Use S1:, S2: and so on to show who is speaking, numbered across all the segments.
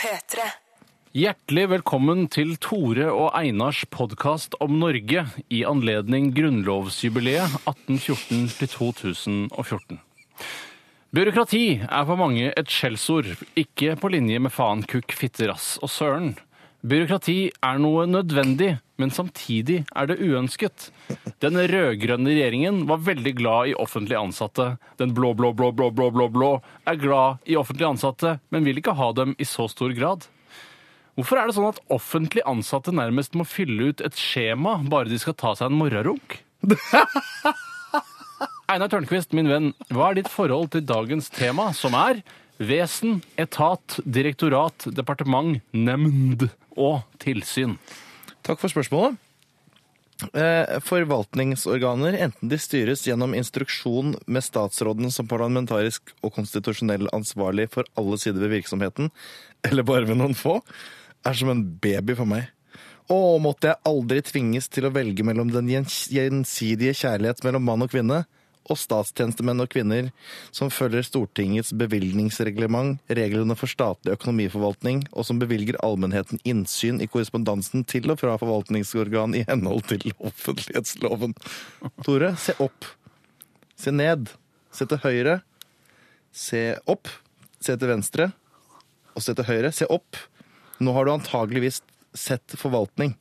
S1: P3.
S2: Hjertelig velkommen til Tore og Einars podkast om Norge i anledning grunnlovsjubileet 1814-2014. Byråkrati er for mange et skjellsord, ikke på linje med faen, kukk, fitte, rass og søren. Byråkrati er noe nødvendig, men samtidig er det uønsket. Den rød-grønne regjeringen var veldig glad i offentlig ansatte. Den blå-blå-blå-blå-blå-blå er glad i offentlig ansatte, men vil ikke ha dem i så stor grad. Hvorfor er det sånn at offentlig ansatte nærmest må fylle ut et skjema bare de skal ta seg en morgenrunk? Einar Tørnquist, min venn, hva er ditt forhold til dagens tema, som er vesen, etat, direktorat, departement, nemnd og tilsyn?
S3: Takk for spørsmålet. Eh, Forvaltningsorganer, enten de styres gjennom instruksjon med statsråden som parlamentarisk og konstitusjonell ansvarlig for alle sider ved virksomheten, eller bare ved noen få, er som en baby for meg. Å, måtte jeg aldri tvinges til å velge mellom den gjens- gjensidige kjærlighet mellom mann og kvinne og statstjenestemenn og kvinner som følger Stortingets bevilgningsreglement, reglene for statlig økonomiforvaltning, og som bevilger allmennheten innsyn i korrespondansen til og fra forvaltningsorgan i henhold til offentlighetsloven. Tore, se opp. Se ned. Se til høyre. Se opp. Se til venstre. Og se til høyre. Se opp. Nå har du antageligvis sett forvaltning.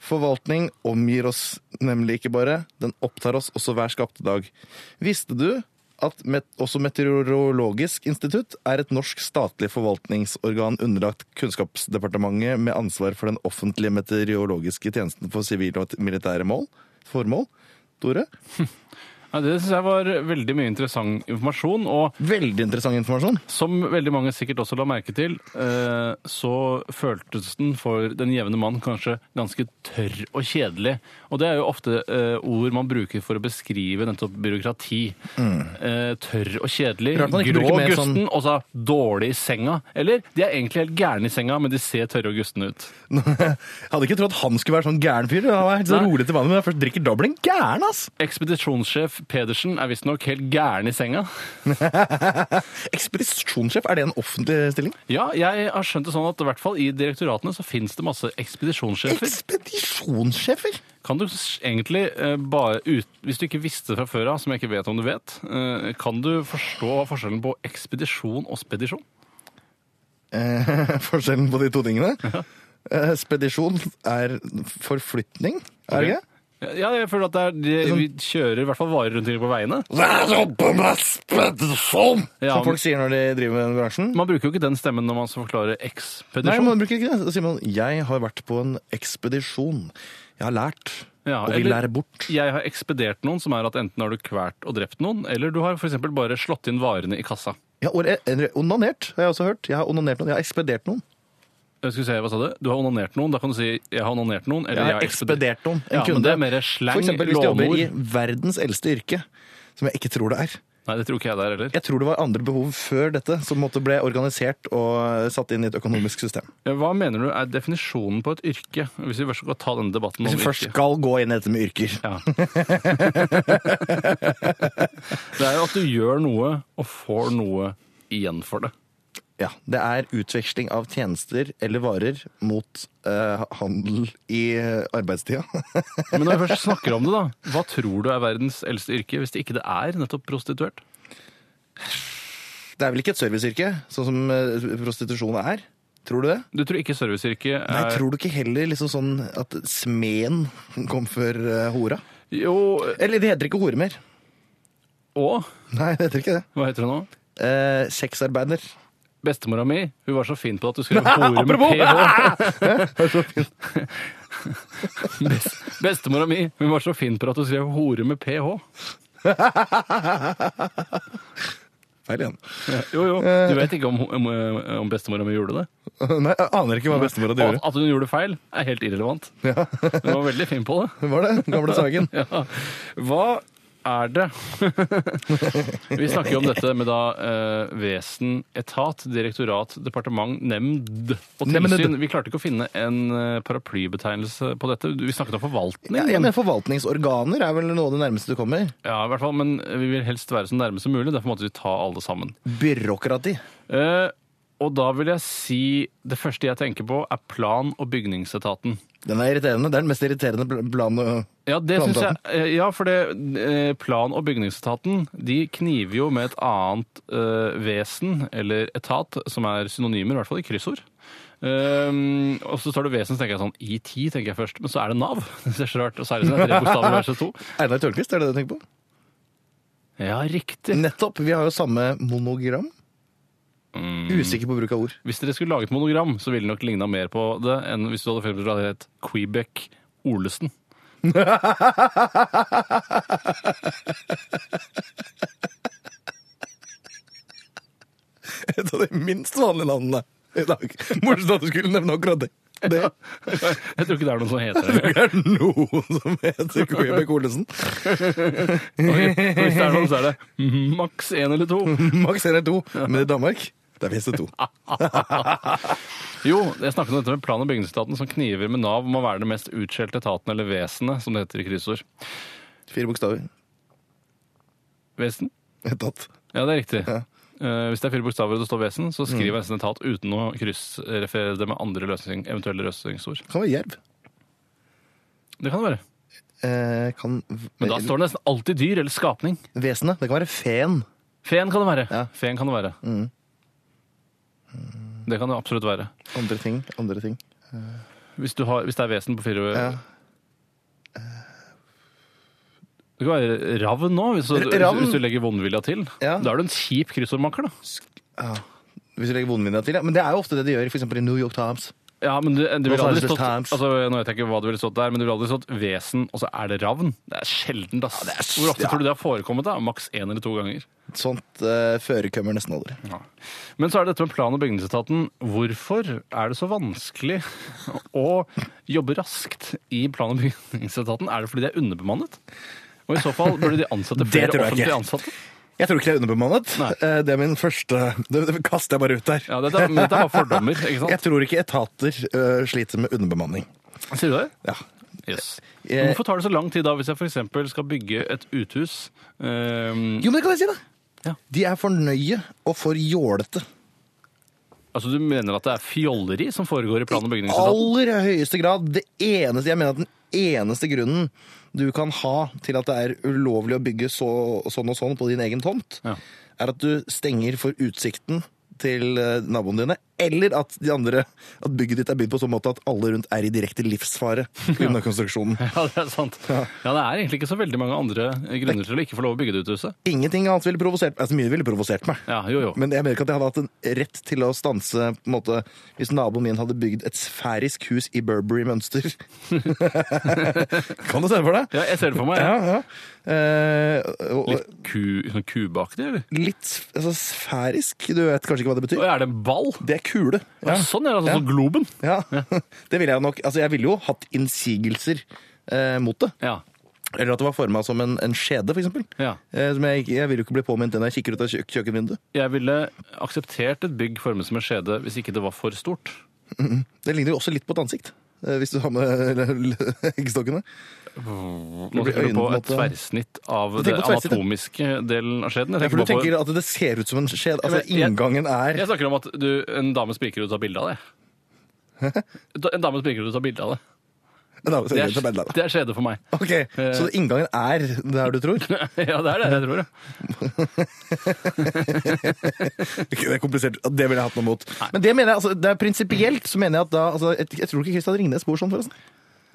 S3: Forvaltning omgir oss nemlig ikke bare, den opptar oss også hver skapte dag. Visste du at met også Meteorologisk institutt er et norsk statlig forvaltningsorgan underlagt Kunnskapsdepartementet med ansvar for den offentlige meteorologiske tjenesten for sivile og militære mål? Formål? Tore?
S2: Ja, det syns jeg var veldig mye interessant informasjon. Og
S3: Veldig interessant informasjon.
S2: som veldig mange sikkert også la merke til, eh, så føltes den for den jevne mann kanskje ganske tørr og kjedelig. Og det er jo ofte eh, ord man bruker for å beskrive nettopp byråkrati. Eh, tørr og kjedelig,
S3: Mm. Rart man ikke
S2: grå
S3: bruker
S2: og
S3: mer sånn-
S2: gusten, og så dårlig i senga. Eller de er egentlig helt gærne i senga, men de ser tørre og gustne ut.
S3: Jeg hadde ikke trodd han skulle være sånn gæren fyr. Han er helt så
S2: Nei.
S3: rolig til vanlig, men når jeg først drikker dobbelen gæren, ass!
S2: Ekspedisjonssjef Pedersen er visstnok helt gæren i senga.
S3: Ekspedisjonssjef, er det en offentlig stilling?
S2: Ja, jeg har skjønt det sånn at i hvert fall i direktoratene så fins det masse ekspedisjonssjefer.
S3: Ekspedisjonssjefer?
S2: Kan du s- egentlig eh, bare ut, Hvis du ikke visste fra før av, som jeg ikke vet om du vet, eh, kan du forstå forskjellen på ekspedisjon og spedisjon?
S3: Eh, forskjellen på de to tingene. Eh, spedisjon er forflytning, er det ikke?
S2: Ja, jeg føler at det er de,
S3: Altså-
S2: vi kjører i hvert fall varer rundt omkring på veiene.
S3: Vær oppe med sånn spedisjon!
S2: Ja,
S3: Som folk sier når de driver med den bransjen.
S2: Man bruker jo ikke den stemmen når man skal forklare
S3: Nei,
S2: ekspedisjon.
S3: man bruker ikke det. Da sier man 'jeg har vært på en ekspedisjon'. Jeg har lært,
S2: Ja,
S3: og vil
S2: eller-
S3: lære bort.
S2: Jeg har ekspedert noen, som er at enten har du kvert og drept noen, eller du har f.eks. bare slått inn varene i kassa.
S3: Jeg har or- eller onanert, har jeg også hørt. Jeg har onanert noen. Jeg har ekspedert noen.
S2: Jeg skulle si, hva sa Du Du har onanert noen. Da kan du si 'jeg har onanert noen'. Eller
S3: Jeg har
S2: ekspedert-
S3: ekspedert noen. En
S2: Ja, men
S3: kunde.
S2: det er mer slang,
S3: For eksempel hvis du
S2: låneord.
S3: jobber i verdens eldste yrke, som jeg ikke tror det er.
S2: Nei, det tror ikke jeg det er heller.
S3: Jeg tror det var andre behov før dette som måtte ble organisert og satt inn i et økonomisk system.
S2: Hva mener du er definisjonen på et yrke? Hvis vi først skal ta denne debatten om
S3: Hvis vi først
S2: yrke.
S3: skal gå inn i dette med yrker.
S2: Ja. det er jo at du gjør noe og får noe igjen for det.
S3: Ja, Det er utveksling av tjenester eller varer mot eh, handel i eh, arbeidstida.
S2: Men når vi først snakker om det, da. Hva tror du er verdens eldste yrke, hvis det ikke det er nettopp prostituert?
S3: Det er vel ikke et serviceyrke, sånn som eh, prostitusjon er? Tror du det?
S2: Du tror ikke serviceyrket
S3: Nei,
S2: er
S3: Tror du ikke heller liksom sånn at smeden kom før eh, hora?
S2: Jo,
S3: Eller det heter ikke hore mer.
S2: og
S3: Nei, det heter ikke det.
S2: hva heter det nå?
S3: Eh, sexarbeider.
S2: Bestemora mi hun var så fin på at du skrev hore med ph. Best, bestemora mi hun var så fin på at du skrev hore med ph.
S3: Feil igjen.
S2: Jo, jo. Du vet ikke om, om, om bestemora mi gjorde det?
S3: Nei, jeg aner ikke hva bestemora di gjorde.
S2: At hun gjorde feil, er helt irrelevant.
S3: Ja,
S2: Hun var veldig fin på det.
S3: var det? Gamle Sagen.
S2: Ja. Hva er det? Vi snakker jo om dette med da eh, vesen, etat, direktorat, departement, nemnd og tilsyn.
S3: Nemnd.
S2: Vi klarte ikke å finne en eh, paraplybetegnelse på dette. Vi snakket om forvaltning.
S3: Ja, jeg
S2: men-
S3: mener Forvaltningsorganer er vel noe av det nærmeste du kommer.
S2: Ja, i hvert fall, men vi vil helst være så nærme som mulig. Derfor måtte vi ta alle sammen.
S3: Byråkrati.
S2: Eh, og da vil jeg si Det første jeg tenker på, er plan- og bygningsetaten.
S3: Den er irriterende. Det er den mest irriterende bl- blant øh,
S2: Ja, det synes jeg,
S3: Planetaten.
S2: eh, ja for det, eh, plan- og bygningsetaten de kniver jo med et annet eh, vesen, eller etat, som er synonymer, i hvert fall i kryssord. Ehm, og så står det vesen, så tenker jeg sånn IT, tenker jeg først. Men så er det Nav. Det er så rart. Og særlig siden det er tre bokstaver i verset to.
S3: Einar Tørnquist, er det det du tenker på?
S2: Ja, riktig.
S3: Nettopp. Vi har jo samme monogram. Usikker på bruk av ord.
S2: Hvis dere skulle laget monogram, så ville det nok ligna mer på det enn hvis du hadde fremstilt det som et Quebec Olesen.
S3: Et av de minst vanlige navnene i dag. Morsomt at du skulle nevne akkurat det. Det
S2: Jeg tror ikke det er noen som heter det.
S3: er noe som heter Quebec Olesen.
S2: Og hvis det er noen, så er det maks én eller to.
S3: Max er det to, men i Danmark der finnes det to.
S2: Jo, jeg snakket om dette med plan- og bygningsetaten som kniver med Nav om å være det mest utskjelte etaten eller vesenet, som det heter i kryssord.
S3: Fire bokstaver.
S2: Vesen?
S3: Et tatt.
S2: Ja, det er riktig.
S3: Ja. Mm.
S2: Eh, hvis det er fire bokstaver og det står vesen, så skriver jeg nesten etat uten å kryssreferere det med andre løsning, eventuelle løsningsord.
S3: Kan være jerv.
S2: Det kan det være.
S3: Eh, kan
S2: Men da står det nesten alltid dyr eller skapning.
S3: Vesenet. Det kan være fen.
S2: Feen kan det være.
S3: Ja. Mm.
S2: Feen kan det være. Det kan det absolutt være.
S3: Andre ting. Andre ting.
S2: Hvis, du har, hvis det er vesen på fire
S3: Ja.
S2: Det kan være ravn nå, hvis, du-
S3: Ravn?
S2: hvis du legger vondvilja til.
S3: Ja.
S2: Da er du en kjip kryssordmaker, da.
S3: Hvis du legger vondminnet til, ja. Men det er jo ofte det de gjør for eksempel i New York Times.
S2: Ja, men det, det vil
S3: Los
S2: aldri
S3: Angeles
S2: stått
S3: Times.
S2: altså, Nå vet jeg ikke hva det ville stått der, men det ville aldri stått vesen, og så er det ravn. Det er sjelden, ass.
S3: det er s-
S2: Hvor ofte
S3: ja.
S2: tror du det har forekommet? da? Maks én eller to ganger.
S3: Sånt eh, førerkommer nesten aldri.
S2: Men så er det dette med plan- og bygningsetaten. Hvorfor er det så vanskelig å jobbe raskt i plan- og bygningsetaten? Er det fordi de er underbemannet? Og i så fall burde de ansette
S3: Det
S2: flere
S3: tror jeg ikke.
S2: offentlige ansatte?
S3: Jeg tror ikke det er underbemannet.
S2: Nei.
S3: Eh, Det er min første Det, det kaster jeg bare ut der.
S2: Ja, dette, men dette er bare fordommer, ikke
S3: Jeg
S2: sant?
S3: tror ikke etater eh, sliter med underbemanning.
S2: Sier du det?
S3: Ja.
S2: Yes.
S3: Eh,
S2: Hvorfor tar det så lang tid da, hvis jeg f.eks. skal bygge et uthus? ehm,
S3: Jo, men det kan jeg si, da!
S2: Ja.
S3: De er for nøye og for jålete.
S2: Altså Du mener at det er fjolleri som foregår i plan- og bygningsetaten?
S3: Aller høyeste grad. Det eneste, jeg mener at den eneste grunnen du kan ha til at det er ulovlig å bygge så, sånn og sånn på din egen tomt,
S2: Ja.
S3: er at du stenger for utsikten til eh, naboene dine, eller at, de andre, at bygget ditt er bygd på sånn måte at alle rundt er i direkte livsfare under konstruksjonen.
S2: Ja, det er sant. Ja. det er egentlig ikke så veldig mange andre grunner til å ikke få lov å bygge det ut huset.
S3: Ingenting annet ville provosert meg. Altså, mye ville provosert meg.
S2: Ja, jo, jo.
S3: Men jeg mener ikke at jeg hadde hatt en rett til å stanse på en måte, hvis naboen min hadde bygd et sfærisk hus i Burberry-mønster. kan du se for deg?
S2: Ja, jeg ser det for meg. Ja.
S3: ja. Eh, og, og,
S2: Litt ku, sånn kubaktig, eller?
S3: litt sf- altså, sfærisk, du vet kanskje ikke hva det betyr?
S2: Og er det en ball?
S3: Det er kule.
S2: Ja.
S3: Ja.
S2: Sånn er det, altså. sånn Globen.
S3: ja. Det ville jeg nok. Altså, jeg ville jo hatt innsigelser eh, mot det.
S2: Ja.
S3: Eller at det var forma som en, en skjede, for eksempel.
S2: ja.
S3: Eh, som jeg, ikke- jeg vil jo ikke bli påminnet når jeg kikker ut av kjø kjøkkenvinduet.
S2: Jeg ville akseptert et bygg formet som en skjede hvis ikke det var for stort.
S3: Det ligner jo også litt på et ansikt. eh, Hvis du har med eggstokkene.
S2: Nå
S3: blir
S2: tenker du på et
S3: øynene på en måte-
S2: tverrsnitt av
S3: Jeg
S2: det
S3: tenker på tverrsnitt, ja.
S2: anatomiske delen av skjeden. Jeg,
S3: Ja,
S2: tenker
S3: for du
S2: bare
S3: tenker at det ser ut som en skjede. Altså,
S2: Ja, men jeg-
S3: inngangen
S2: på,
S3: er
S2: jeg snakker om at du, en dame spriker og du tar bilde av det. En dame spriker og du tar bilde av det. Det
S3: Nei, det er-
S2: er, det er skjede for meg.
S3: Ok, Så inngangen er der du tror?
S2: ja, det er det jeg tror. ja.
S3: Ok, Det er komplisert. Det ville jeg hatt noe mot. Men det mener jeg, altså, det er prinsipielt så mener jeg at da altså, jeg, jeg tror ikke Kristian Ringnes bor sånn, forresten.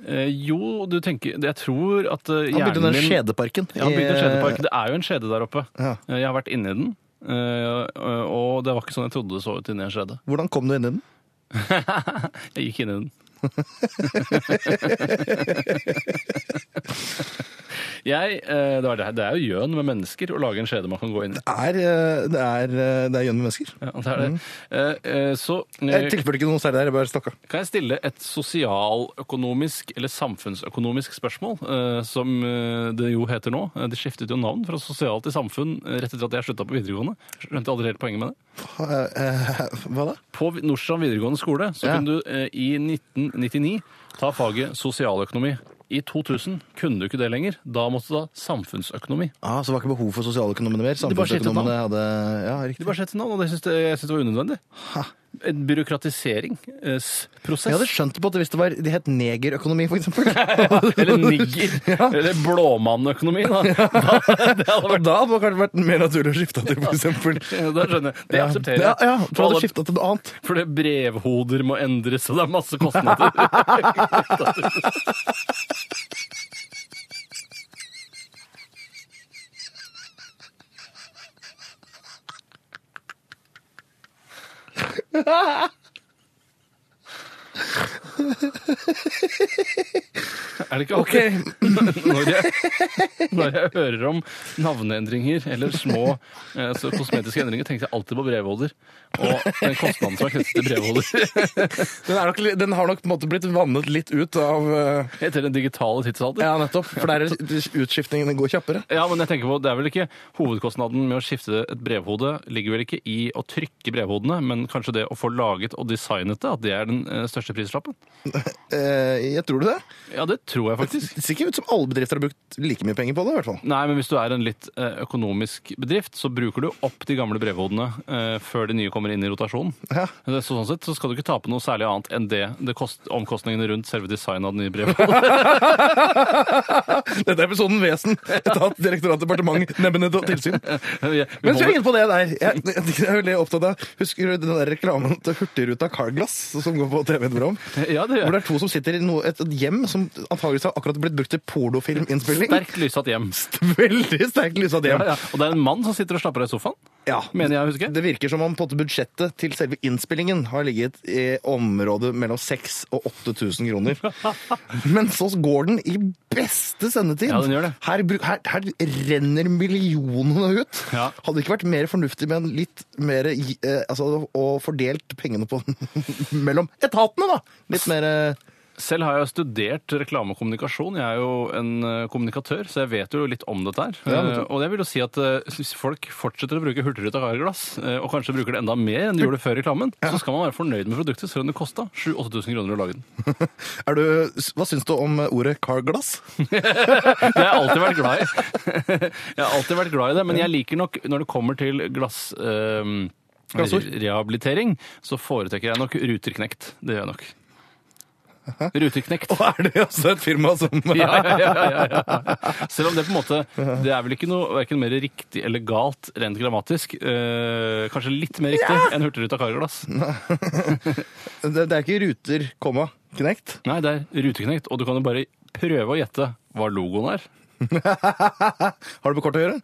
S2: Eh, jo, du tenker Jeg tror at eh,
S3: Han bygde
S2: hjernen
S3: den
S2: din
S3: skjedeparken.
S2: Ja, han bygde en
S3: i- eh,
S2: skjedepark. Det er jo en skjede der oppe.
S3: Ja.
S2: Eh, Jeg har vært inni den. eh, og det var ikke sånn jeg trodde det så ut inni en skjede.
S3: eh, Hvordan kom du inn i den?
S2: Jeg gikk inn i den. jeg, eh, det, var det, det er jo gjøn med mennesker å lage en skjede man kan gå inn i.
S3: Er, eh, det er, eh, det er gjønn med mennesker.
S2: Ja, det er det. Eh, eh, så eh,
S3: Mm. Jeg tilførte ikke noe særlig der, jeg bare stakk av.
S2: Kan jeg stille et sosialøkonomisk eller samfunnsøkonomisk spørsmål, eh, som eh, det jo heter nå? Eh, Det skiftet jo navn fra sosial til samfunn eh, rett etter at jeg slutta på videregående. Skjønte aldri helt poenget med det.
S3: Eh, eh, Hva da?
S2: På Vi- Nordstrand videregående skole så
S3: Ja.
S2: kunne du eh, i 1999 ta faget sosialøkonomi. I 2000 kunne du ikke det lenger. Da måtte du ha samfunnsøkonomi.
S3: Ah, så det var ikke behov for sosialøkonomene mer?
S2: Det bare skiftet navn.
S3: Samfunnsøkonomene hadde Ja,
S2: Det
S3: riktig.
S2: bare skjedde navn, og det syns det, jeg synes det var unødvendig. En eh, byråkratiseringsprosess.
S3: Jeg hadde skjønt det på at hvis det var De het negerøkonomi, for eksempel.
S2: Eller nigger. Eller blåmannøkonomi. Da. Da, det hadde
S3: Og
S2: vært
S3: da hadde det kanskje vært mer naturlig å skifte til, for eksempel.
S2: da skjønner jeg. Det aksepterer
S3: Ja,
S2: jeg.
S3: ja, for
S2: For
S3: hadde
S2: alle,
S3: skiftet til noe annet.
S2: fordi brevhoder må endres, og det er masse kostnader. Er det ikke alltid når jeg, når jeg hører om navneendringer eller små eh, så kosmetiske endringer, tenker jeg alltid på brevholder. Og den kostnaden som er knyttet til brevholder.
S3: Den, er nok, li- den har nok på en måte blitt vannet litt ut av eh,
S2: Etter den digitale tidsalder.
S3: Ja, nettopp. For der er utskiftingene går kjappere.
S2: Ja, men jeg tenker på, det er vel ikke Hovedkostnaden med å skifte et brevhode ligger vel ikke i å trykke brevhodene, men kanskje det å få laget og designet det, at det er den eh, største prislappen?
S3: Eh, jeg tror du det.
S2: Ja, det tror jeg faktisk.
S3: Det ser ikke ut som alle bedrifter har brukt like mye penger på det. i hvert fall.
S2: Nei, men hvis du er en litt eh, økonomisk bedrift, så bruker du opp de gamle brevhodene eh, før de nye kommer inn i rotasjonen.
S3: Ja.
S2: Det- Så sånn sett så skal du ikke tape noe særlig annet enn det, det kost, omkostningene rundt selve designet av det nye brevhodet.
S3: Dette er episoden Vesen. Etat, direktorat, departement, nemnd og tilsyn.
S2: Vi- vi
S3: Men
S2: holder-
S3: så inn på det der. Jeg, jeg er veldig opptatt av Husker du den der reklamen til Hurtigruta Carglass som går på TV et program?
S2: ja, det
S3: Hvor
S2: gjør
S3: det er to som sitter i noe, et et hjem som antageligvis har akkurat blitt brukt til pornofilminnspilling.
S2: Sterkt lyssatt hjem.
S3: Veldig sterkt lyset hjem.
S2: Ja, ja. Og det er en mann som sitter og slapper av i sofaen,
S3: Ja.
S2: mener jeg å huske.
S3: Det virker som om på en måte budsjettet til selve innspillingen har ligget i området mellom 6000 og 8000 kroner. Men så går den i beste sendetid.
S2: Ja, den gjør det.
S3: Her, bru- her, her renner millionene ut.
S2: Ja.
S3: Hadde det ikke vært mer fornuftig med en litt mer gi- eh, altså, og fordelt pengene på mellom etatene, da? Litt mer eh,
S2: Selv har jeg jo studert reklamekommunikasjon. Jeg er jo en eh, kommunikatør, så jeg vet jo litt om dette her.
S3: Ja, vet du.
S2: Eh, og jeg vil jo si at eh, hvis folk fortsetter å bruke hurtigruta karglass, eh, og kanskje bruker det enda mer enn de gjorde før reklamen, så skal man være fornøyd med produktet, selv om det kosta 7000-8000 kroner å lage den.
S3: er du, Hva syns du om ordet carglass?
S2: Det har jeg alltid vært glad i. Jeg har alltid vært glad i det, men jeg liker nok når det kommer til glass... ehm,
S3: Glassord?
S2: Rehabilitering, så foretrekker jeg nok Ruterknekt. Det gjør jeg nok. Ruterknekt.
S3: Og er det også et firma som
S2: Ja, ja, ja, ja, ja. Selv om det på en måte Det er vel ikke noe hverken mer riktig eller galt rent grammatisk. Eh, kanskje litt mer riktig enn Hurtigruta karglass.
S3: Det, det er ikke Ruter, komma, knekt?
S2: Nei, det er Ruteknekt, og du kan jo bare prøve å gjette hva logoen er.
S3: Har det med kort å gjøre?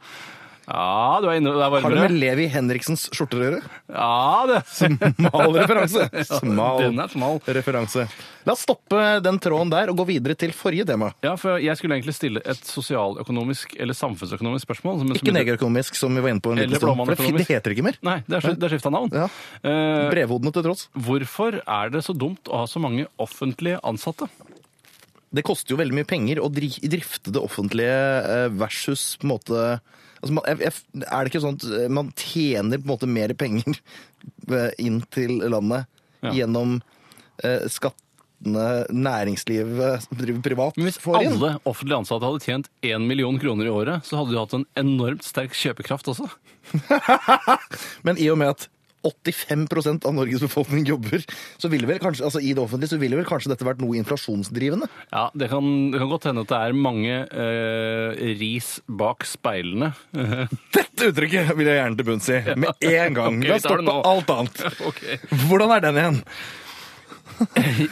S2: Ja, du er inne det er
S3: Har det med
S2: varmere.
S3: Levi Henriksens skjorter å gjøre?
S2: Ja, det.
S3: Smal referanse. Smal
S2: Den er smal.
S3: referanse. La oss stoppe den tråden der og gå videre til forrige tema.
S2: Ja, for jeg skulle egentlig stille et sosialøkonomisk eller samfunnsøkonomisk spørsmål. men så
S3: Ikke
S2: begynte-
S3: negerøkonomisk, som vi var inne på. en liten
S2: Eller
S3: stund, for det-
S2: blåmannøkonomisk.
S3: Det heter ikke mer.
S2: Nei, det er, sk- det er skifta navn.
S3: Ja.
S2: Eh,
S3: Brevhodene til tross.
S2: hvorfor er det så dumt å ha så mange offentlige ansatte?
S3: Det koster jo veldig mye penger å dri drifte det offentlige eh, versus på en måte altså, man, jeg, jeg, Er det ikke sånn at eh, man tjener på en måte mer penger eh, inn til landet
S2: Ja.
S3: gjennom eh, skattene næringslivet som driver privat,
S2: Men hvis
S3: får inn?
S2: alle offentlig ansatte hadde tjent 1 million kroner i året, så hadde de hatt en enormt sterk kjøpekraft også.
S3: Men i og med at 85 av Norges befolkning jobber, så ville vel kanskje, altså i det offentlige, så ville vel kanskje dette vært noe inflasjonsdrivende?
S2: Ja, Det kan, det kan godt hende at det er mange eh, ris bak speilene.
S3: Dette uttrykket vil jeg gjerne til bunns i med en gang.
S2: Ok,
S3: La
S2: vi
S3: oss
S2: tar det
S3: stoppe
S2: nå.
S3: alt annet.
S2: Ok.
S3: Hvordan er den igjen?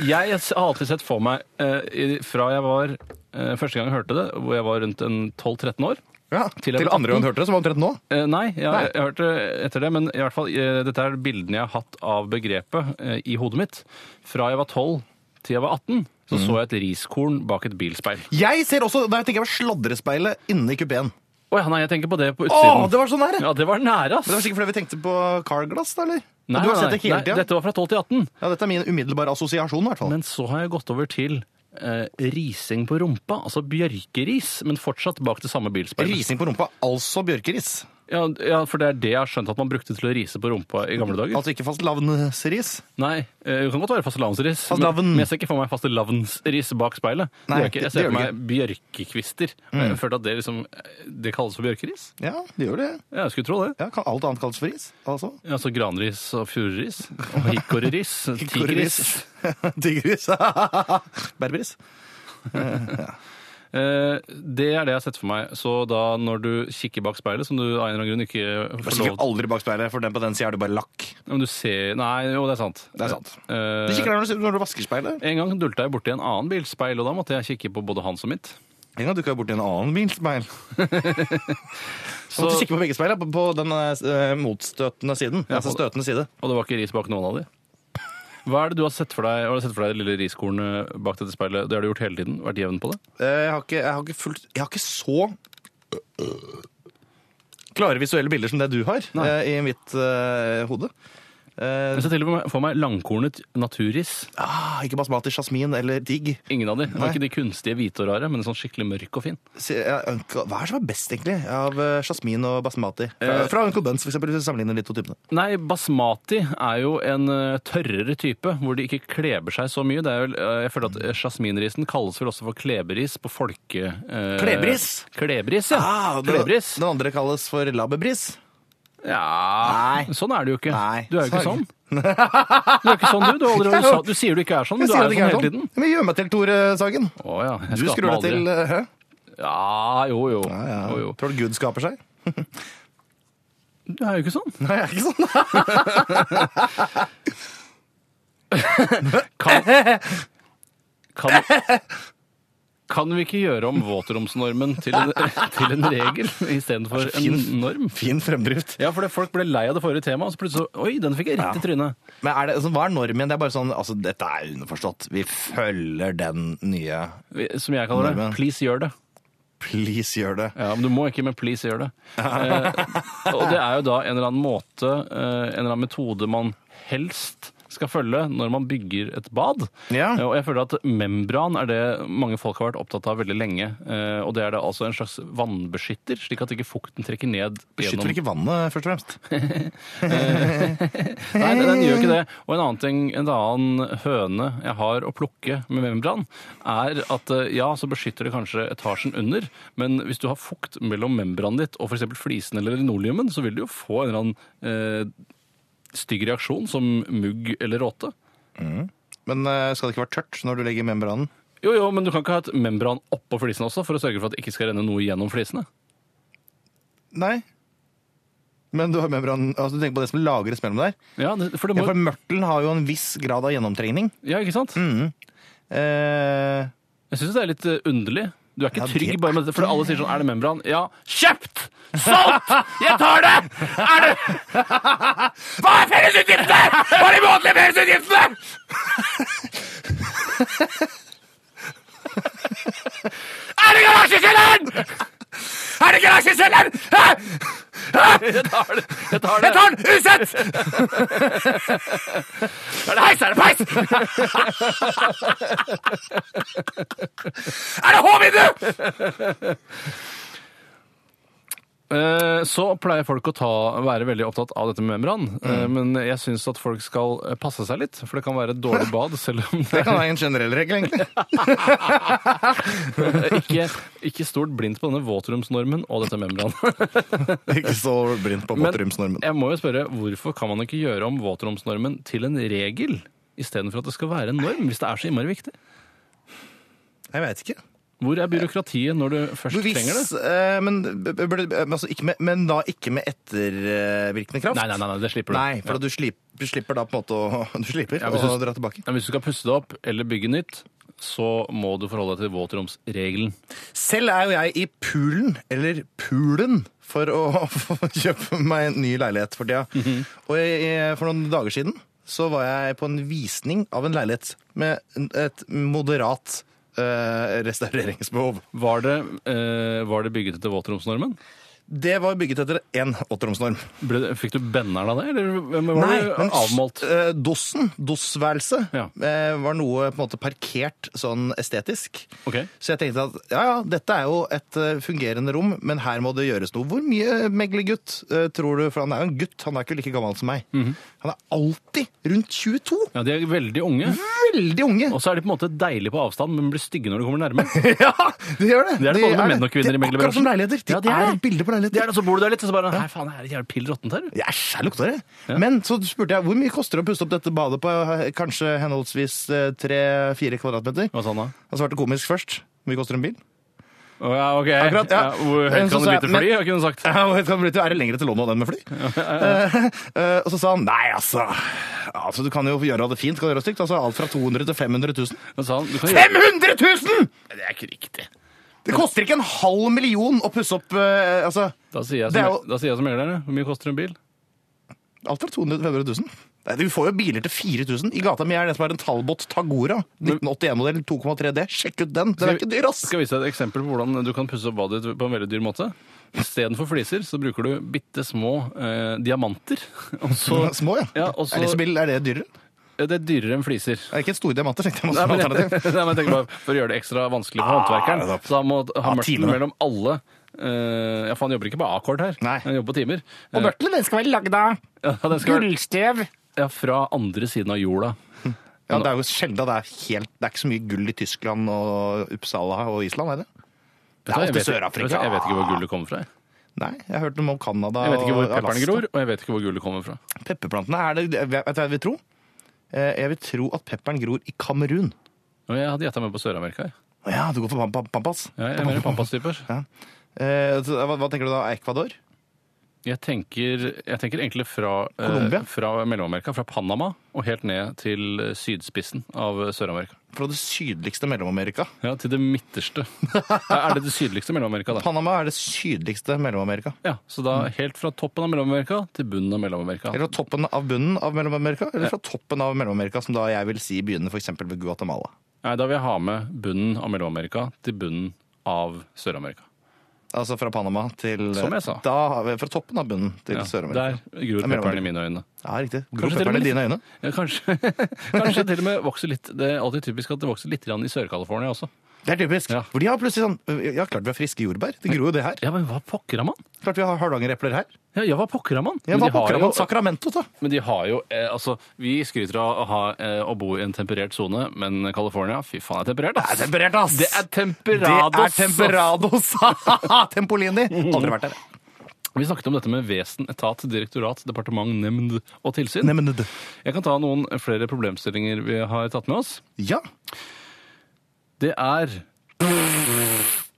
S2: Jeg har alltid sett for meg, eh, i- fra jeg var eh, første gang jeg hørte det, hvor jeg var rundt en 12-13 år
S3: Ja,
S2: Til
S3: til,
S2: jeg ble
S3: andre gang du hørte det, som var omtrent nå.
S2: Eh, nei, jeg,
S3: Nei.
S2: jeg hørte etter det, men i hvert fall, eh, dette er bildene jeg har hatt av begrepet eh, i hodet mitt. Fra jeg var 12 til jeg var 18,
S3: Mhm.
S2: så så jeg et riskorn bak et bilspeil.
S3: Jeg ser også, da jeg tenker jeg var sladrespeilet inne i kupeen.
S2: Å ja, nei, jeg tenker på det på
S3: Å,
S2: utsiden.
S3: det var så nære!
S2: Ja, det var nære, ass.
S3: Det var sikkert fordi vi tenkte på Carglass, da, eller?
S2: Nei,
S3: du har
S2: nei,
S3: sett
S2: nei.
S3: det hele
S2: Nei,
S3: tida?
S2: Dette var fra 12 til 18.
S3: Ja, dette er min umiddelbare assosiasjon, i hvert fall.
S2: Men så har jeg gått over til eh, rising på rumpa, altså bjørkeris, men fortsatt bak det samme bilspeilet.
S3: Rising på rumpa, altså bjørkeris.
S2: Ja, ja, for det er det jeg har skjønt at man brukte til å rise på rumpa i gamle dager.
S3: Altså ikke fastelavnsris.
S2: Nei, eh, det kan godt være fastelavnsris.
S3: Fastelavn.
S2: Men men jeg ser ikke for meg fastelavnsris bak speilet. Det
S3: Nei,
S2: gjør jeg ikke.
S3: det-
S2: Jeg ser
S3: det
S2: for
S3: gjør Mm.
S2: meg bjørkekvister. Og Jeg følte at det liksom Det kalles for bjørkeris?
S3: Ja, det gjør det.
S2: Ja, jeg skulle tro det.
S3: Ja, kan alt annet kalles for ris? Altså.
S2: Ja, Altså granris og fururis. Og hikkoreris. Tigris.
S3: Tigris. Berberis.
S2: Eh, Det er det jeg har sett for meg. Så da når du kikker bak speilet, som du av en eller annen grunn ikke
S3: Du
S2: får
S3: kikker
S2: lov
S3: aldri bak speilet, for den på den sida er du bare lakk.
S2: Ja, Men du ser Nei, jo, det er sant.
S3: Det er sant.
S2: Eh,
S3: Du kikker der når du, når du vasker speilet.
S2: En gang dulta jeg borti en annen bilspeil, og da måtte jeg kikke på både hans og mitt.
S3: En gang dukka jeg borti en annen bilspeil. Så
S2: Så-
S3: måtte kikke på begge speilene, på, på den eh, motstøtende siden.
S2: Ja,
S3: altså
S2: på-
S3: støtende side.
S2: Og det var ikke ris bak noen av de. Hva er det du har sett for deg, har du sett for deg det lille riskornet bak dette speilet? Det har du gjort hele tiden? Vært jevn på det?
S3: Eh, Jeg har ikke, jeg har ikke fulgt Jeg har ikke så eh, klare visuelle bilder som det du har
S2: Nei.
S3: eh, i mitt eh, hode. Eh,
S2: Jeg ser til og med for meg langkornet naturris.
S3: ah, ikke basmati, jasmin eller digg.
S2: Ingen av de. Det
S3: Nei.
S2: var ikke de kunstige hvite og rare, men sånn skikkelig mørk og fin.
S3: Si- ja, Uncle- Hva er det som er best, egentlig, av eh, jasmin og basmati? Fra,
S2: Eh,
S3: fra Uncle Buns, for eksempel, hvis vi sammenligner de to typene.
S2: Nei, basmati er jo en eh, tørrere type, hvor de ikke kleber seg så mye. Det er vel, eh, jeg føler at eh, Jasminrisen kalles vel også for kleberis på folke... eh,
S3: Kleberis?
S2: Kleberis, ja.
S3: den,
S2: kleberis.
S3: den andre kalles for labbebris.
S2: Ja,
S3: Nei.
S2: sånn er du jo ikke.
S3: Nei.
S2: Du er jo ikke
S3: Sånn.
S2: sånn. Du er ikke sånn, du. Du, har allerede, sa- du sier du ikke er sånn, men du er jo sånn hele tiden.
S3: Men gjør meg til Tore Sagen.
S2: Å ja. Jeg
S3: Du
S2: skaper
S3: skrur
S2: meg
S3: deg
S2: aldri.
S3: til eh, Hæ?
S2: Ja, jo jo.
S3: Ja, ja.
S2: jo, jo.
S3: Tror du Gud skaper seg?
S2: Du er jo ikke sånn.
S3: Nei, jeg er ikke sånn.
S2: Kan, kan, kan vi ikke gjøre om våtromsnormen til en, til en regel istedenfor en
S3: Fin-
S2: norm?
S3: Fin fremdrift.
S2: Ja, for det, folk ble lei av det forrige temaet, og så plutselig så Oi, den fikk jeg rett i trynet.
S3: Men er det, altså, hva er normen? Det er bare sånn, altså, dette er underforstått. Vi følger den nye.
S2: Som jeg kaller det.
S3: Normen.
S2: Please, gjør det.
S3: Please gjør det.
S2: Ja, men du må ikke, men please gjør det. Eh, og det er jo da en eller annen måte, eh, en eller annen metode man helst skal følge når man bygger et bad.
S3: Ja.
S2: Eh, og jeg føler at membran er det mange folk har vært opptatt av veldig lenge. eh, og det er da altså en slags vannbeskytter, slik at ikke fukten trekker ned
S3: Beskytt vel
S2: gjennom
S3: ikke vannet, først og fremst.
S2: Nei, den, den gjør ikke
S3: Eh.
S2: det. Og en annen ting, en annen høne jeg har å plukke med membran, er at eh, ja, så beskytter det kanskje etasjen under, men hvis du har fukt mellom membranet ditt og f.eks. flisen eller linoleumen, så vil du jo få en eller annen eh, stygg reaksjon som mugg eller råte.
S3: Men eh, skal det ikke være tørt når du legger membranen?
S2: Jo, jo, men du kan ikke ha et membran oppå flisen også for å sørge for at det ikke skal renne noe gjennom flisene.
S3: Nei. Men du har membranen, altså du tenker på det som lagres mellom der.
S2: Ja, det, for det
S3: Ja,
S2: må,
S3: for mørtelen har jo en viss grad av gjennomtrengning.
S2: ja ikke sant?
S3: Eh,
S2: Jeg syns det er litt eh, underlig. Du er ikke
S3: Ja,
S2: trygg
S3: det
S2: bare med det, for alle sier sånn Er det membran? Ja. Kjøpt! Solgt! Jeg tar det! Er det Hva er fellesutgiftene?! Hva er de månedlige fellesutgiftene?! Er det garasjekjelleren?! Er det garasjekjelleren?! Hæ? Hæ? Jeg tar det. Jeg tar det. den usett! Er det heis? Er det peis? Er det H-vindu?! Eh, Så pleier folk å ta, være veldig opptatt av dette med membran. Eh, Men jeg syns at folk skal eh, passe seg litt, for det kan være et dårlig bad selv om det
S3: det kan være en generell regel, egentlig.
S2: er ikke, ikke stort blindt på denne våtromsnormen og dette membran.
S3: ikke så blindt på
S2: Men-
S3: våtrumsnormen.
S2: Jeg må jo spørre, hvorfor kan man ikke gjøre om våtromsnormen til en regel? Istedenfor at det skal være en norm, hvis det er så innmari viktig.
S3: Jeg veit ikke.
S2: Hvor er byråkratiet når du først trenger det?
S3: Hvis, eh, men, b- b- burde- men altså, ikke med, men da ikke med ettervirkende kraft.
S2: Nei, nei, nei, nei, det slipper du.
S3: Nei, for at du, slip, du slipper da på en måte å Du slipper
S2: Ja,
S3: å
S2: hvis du-
S3: dra tilbake.
S2: Men Hvis du skal pusse det opp eller bygge nytt, så må du forholde deg til våtromsregelen.
S3: Selv er jo jeg i poolen, eller poolen, for å kjøpe meg en ny leilighet for tida.
S2: Mhm.
S3: Og jeg, jeg, for noen dager siden så var jeg på en visning av en leilighet med en- et moderat eh, restaureringsbehov.
S2: Var det, eh, var det bygget etter våtromsnormen?
S3: Det var bygget etter én åtteromsnorm.
S2: Ble, det- fikk du benneren av det, eller hvem var det
S3: men
S2: avmålt?
S3: eh, dossen, dossværelset,
S2: Ja.
S3: eh, var noe på en måte parkert sånn estetisk.
S2: Ok.
S3: Så jeg tenkte at ja, ja, dette er jo et eh, fungerende rom, men her må det gjøres noe. Hvor mye eh, meglegutt eh, tror du? For han er jo en gutt, han er ikke like gammel som meg.
S2: Mhm.
S3: Han er alltid rundt 22.
S2: Ja, de er veldig unge.
S3: Veldig unge.
S2: Og så er de på en måte deilige på avstand, men blir stygge når de kommer nærme.
S3: Ja, de gjør det.
S2: Det er det både med menn og kvinner i
S3: Det er akkurat
S2: meglerbransjen.
S3: som leiligheter. De
S2: Ja, de er
S3: er
S2: det.
S3: et bilde på
S2: Det er
S3: leiligheter.
S2: det, Så bor du der litt, og så bare Her faen, her er det jævla pill råttent her.
S3: Æsj, her lukter det. Men så spurte jeg hvor mye koster det å pusse opp dette badet på eh, kanskje henholdsvis tre-fire kvadratmeter.
S2: Hva sa han da?
S3: Han svarte komisk først. Hvor mye koster en bil?
S2: Å, ja, ok.
S3: Akkurat, ja.
S2: hvor høyt
S3: Men så
S2: kan du
S3: sa jeg-
S2: bytte
S3: men-
S2: fly? Har ikke hun sagt.
S3: Ja, og jeg kan bli til- Er det lenger til London enn med fly? Eh, eh, og så sa han nei, altså. altså Du kan jo gjøre det fint, kan du gjøre det stygt. Altså, alt fra 200 til 500 000.
S2: Men sa han, du kan gjøre...
S3: 500 000!
S2: Det er ikke riktig.
S3: Det koster ikke en halv million å pusse opp eh, altså,
S2: Da sier jeg
S3: Det er
S2: som,
S3: jo-
S2: da sier jeg som megler, hvor mye koster en bil?
S3: Alt fra 200 til 500 000. Nei, Du får jo biler til 4000. I gata mi er det som er en Talbot Tagora. 1981-modell 2,3D. Sjekk ut den! Den er ikke dyr, ass!
S2: Skal jeg vise deg et eksempel på hvordan du kan pusse opp badet ditt på en veldig dyr måte. Istedenfor fliser så bruker du bitte små eh, diamanter. Og så,
S3: Små, ja.
S2: Ja, og så-
S3: Er, det så billig- er det dyrere?
S2: Eh, det er dyrere enn fliser.
S3: Er det ikke store diamanter? tenkte jeg,
S2: Nei,
S3: masse
S2: men, jeg,
S3: alternativ.
S2: nei, men jeg tenker bare For å gjøre det ekstra vanskelig for
S3: Ah,
S2: håndverkeren,
S3: nettopp.
S2: så han må ha
S3: Ah,
S2: mørten
S3: timene.
S2: mellom alle eh, ja, for Han jobber ikke på akkord her,
S3: Nei.
S2: han jobber på timer. Eh,
S3: Og bøtlene, den skal være lagd av
S2: ja, den skal, være-
S3: gullstøv.
S2: ja, fra andre siden av jorda.
S3: Ja, det er jo sjelden det er helt Det er ikke så mye gull i Tyskland og Uppsala og Island, er det? Det er
S2: Jeg
S3: ofte
S2: vet- vet
S3: Sør-Afrika.
S2: du, Jeg vet ikke hvor gullet kommer fra. jeg.
S3: Nei, jeg hørte noe om Canada
S2: Jeg vet ikke hvor
S3: og
S2: pepperen
S3: Alaska.
S2: gror, og jeg vet ikke hvor gullet kommer fra.
S3: Pepperplantene er det Vet du hva jeg vil tro? Eh, Jeg vil tro at pepperen gror i Kamerun.
S2: Og jeg hadde gjetta meg på Sør-Amerika. jeg.
S3: Å Ja, du går for pam- pam- Pampas?
S2: Ja, jeg er mer pampas-typer.
S3: Eh, så Hva, hva tenker du da? Ecuador?
S2: Jeg tenker, jeg tenker egentlig fra, eh,
S3: Colombia?
S2: fra Mellom-Amerika, fra Panama og helt ned til eh, sydspissen av eh, Sør-Amerika.
S3: Fra det sydligste Mellom-Amerika.
S2: Ja, til det midterste. Er det det sydligste Mellom-Amerika, da?
S3: Panama er det sydligste Mellom-Amerika.
S2: Ja, Så da helt fra toppen av Mellom-Amerika til bunnen av Mellom-Amerika.
S3: Eller fra toppen av bunnen av Mellom-Amerika, eller fra toppen av Mellom-Amerika, som da jeg vil si begynner f.eks. ved Guatemala.
S2: Nei, da vil jeg ha med bunnen av Mellom-Amerika til bunnen av Sør-Amerika.
S3: Altså fra Panama til
S2: Som jeg sa.
S3: Da, har vi- fra toppen av bunnen til
S2: Ja,
S3: Sør-Amerika.
S2: der gror pepperen i mine øyne.
S3: Ja, riktig. Gror
S2: Kanskje til og
S3: pepperen
S2: med
S3: i dine øyne?
S2: Ja, kanskje. kanskje til og med vokser litt Det er alltid typisk at det vokser litt grann i Sør-California også.
S3: Det er typisk.
S2: Ja.
S3: For de har plutselig sånn Ja, klart vi har friske jordbær. Det gror jo det her.
S2: Ja, men hva pokker har man?
S3: Klart vi har hardangerepler her.
S2: Ja, ja, hva pokker har man?
S3: Ja,
S2: Men
S3: hva
S2: de har
S3: pokker har
S2: jo-
S3: man Sacramento, da?
S2: Men de har jo eh, Altså, vi skryter av å, ha, eh, å bo i en temperert sone, men California, fy faen, det er temperert, ass!
S3: temperert, ass!
S2: Det er temperados!
S3: Det er temperados! Tempolini! Aldri vært der.
S2: ass. Vi snakket om dette med vesen, etat, direktorat, departement, nemnd og tilsyn.
S3: Nei, men det-
S2: Jeg kan ta noen flere problemstillinger vi har tatt med oss.
S3: Ja.
S2: Det er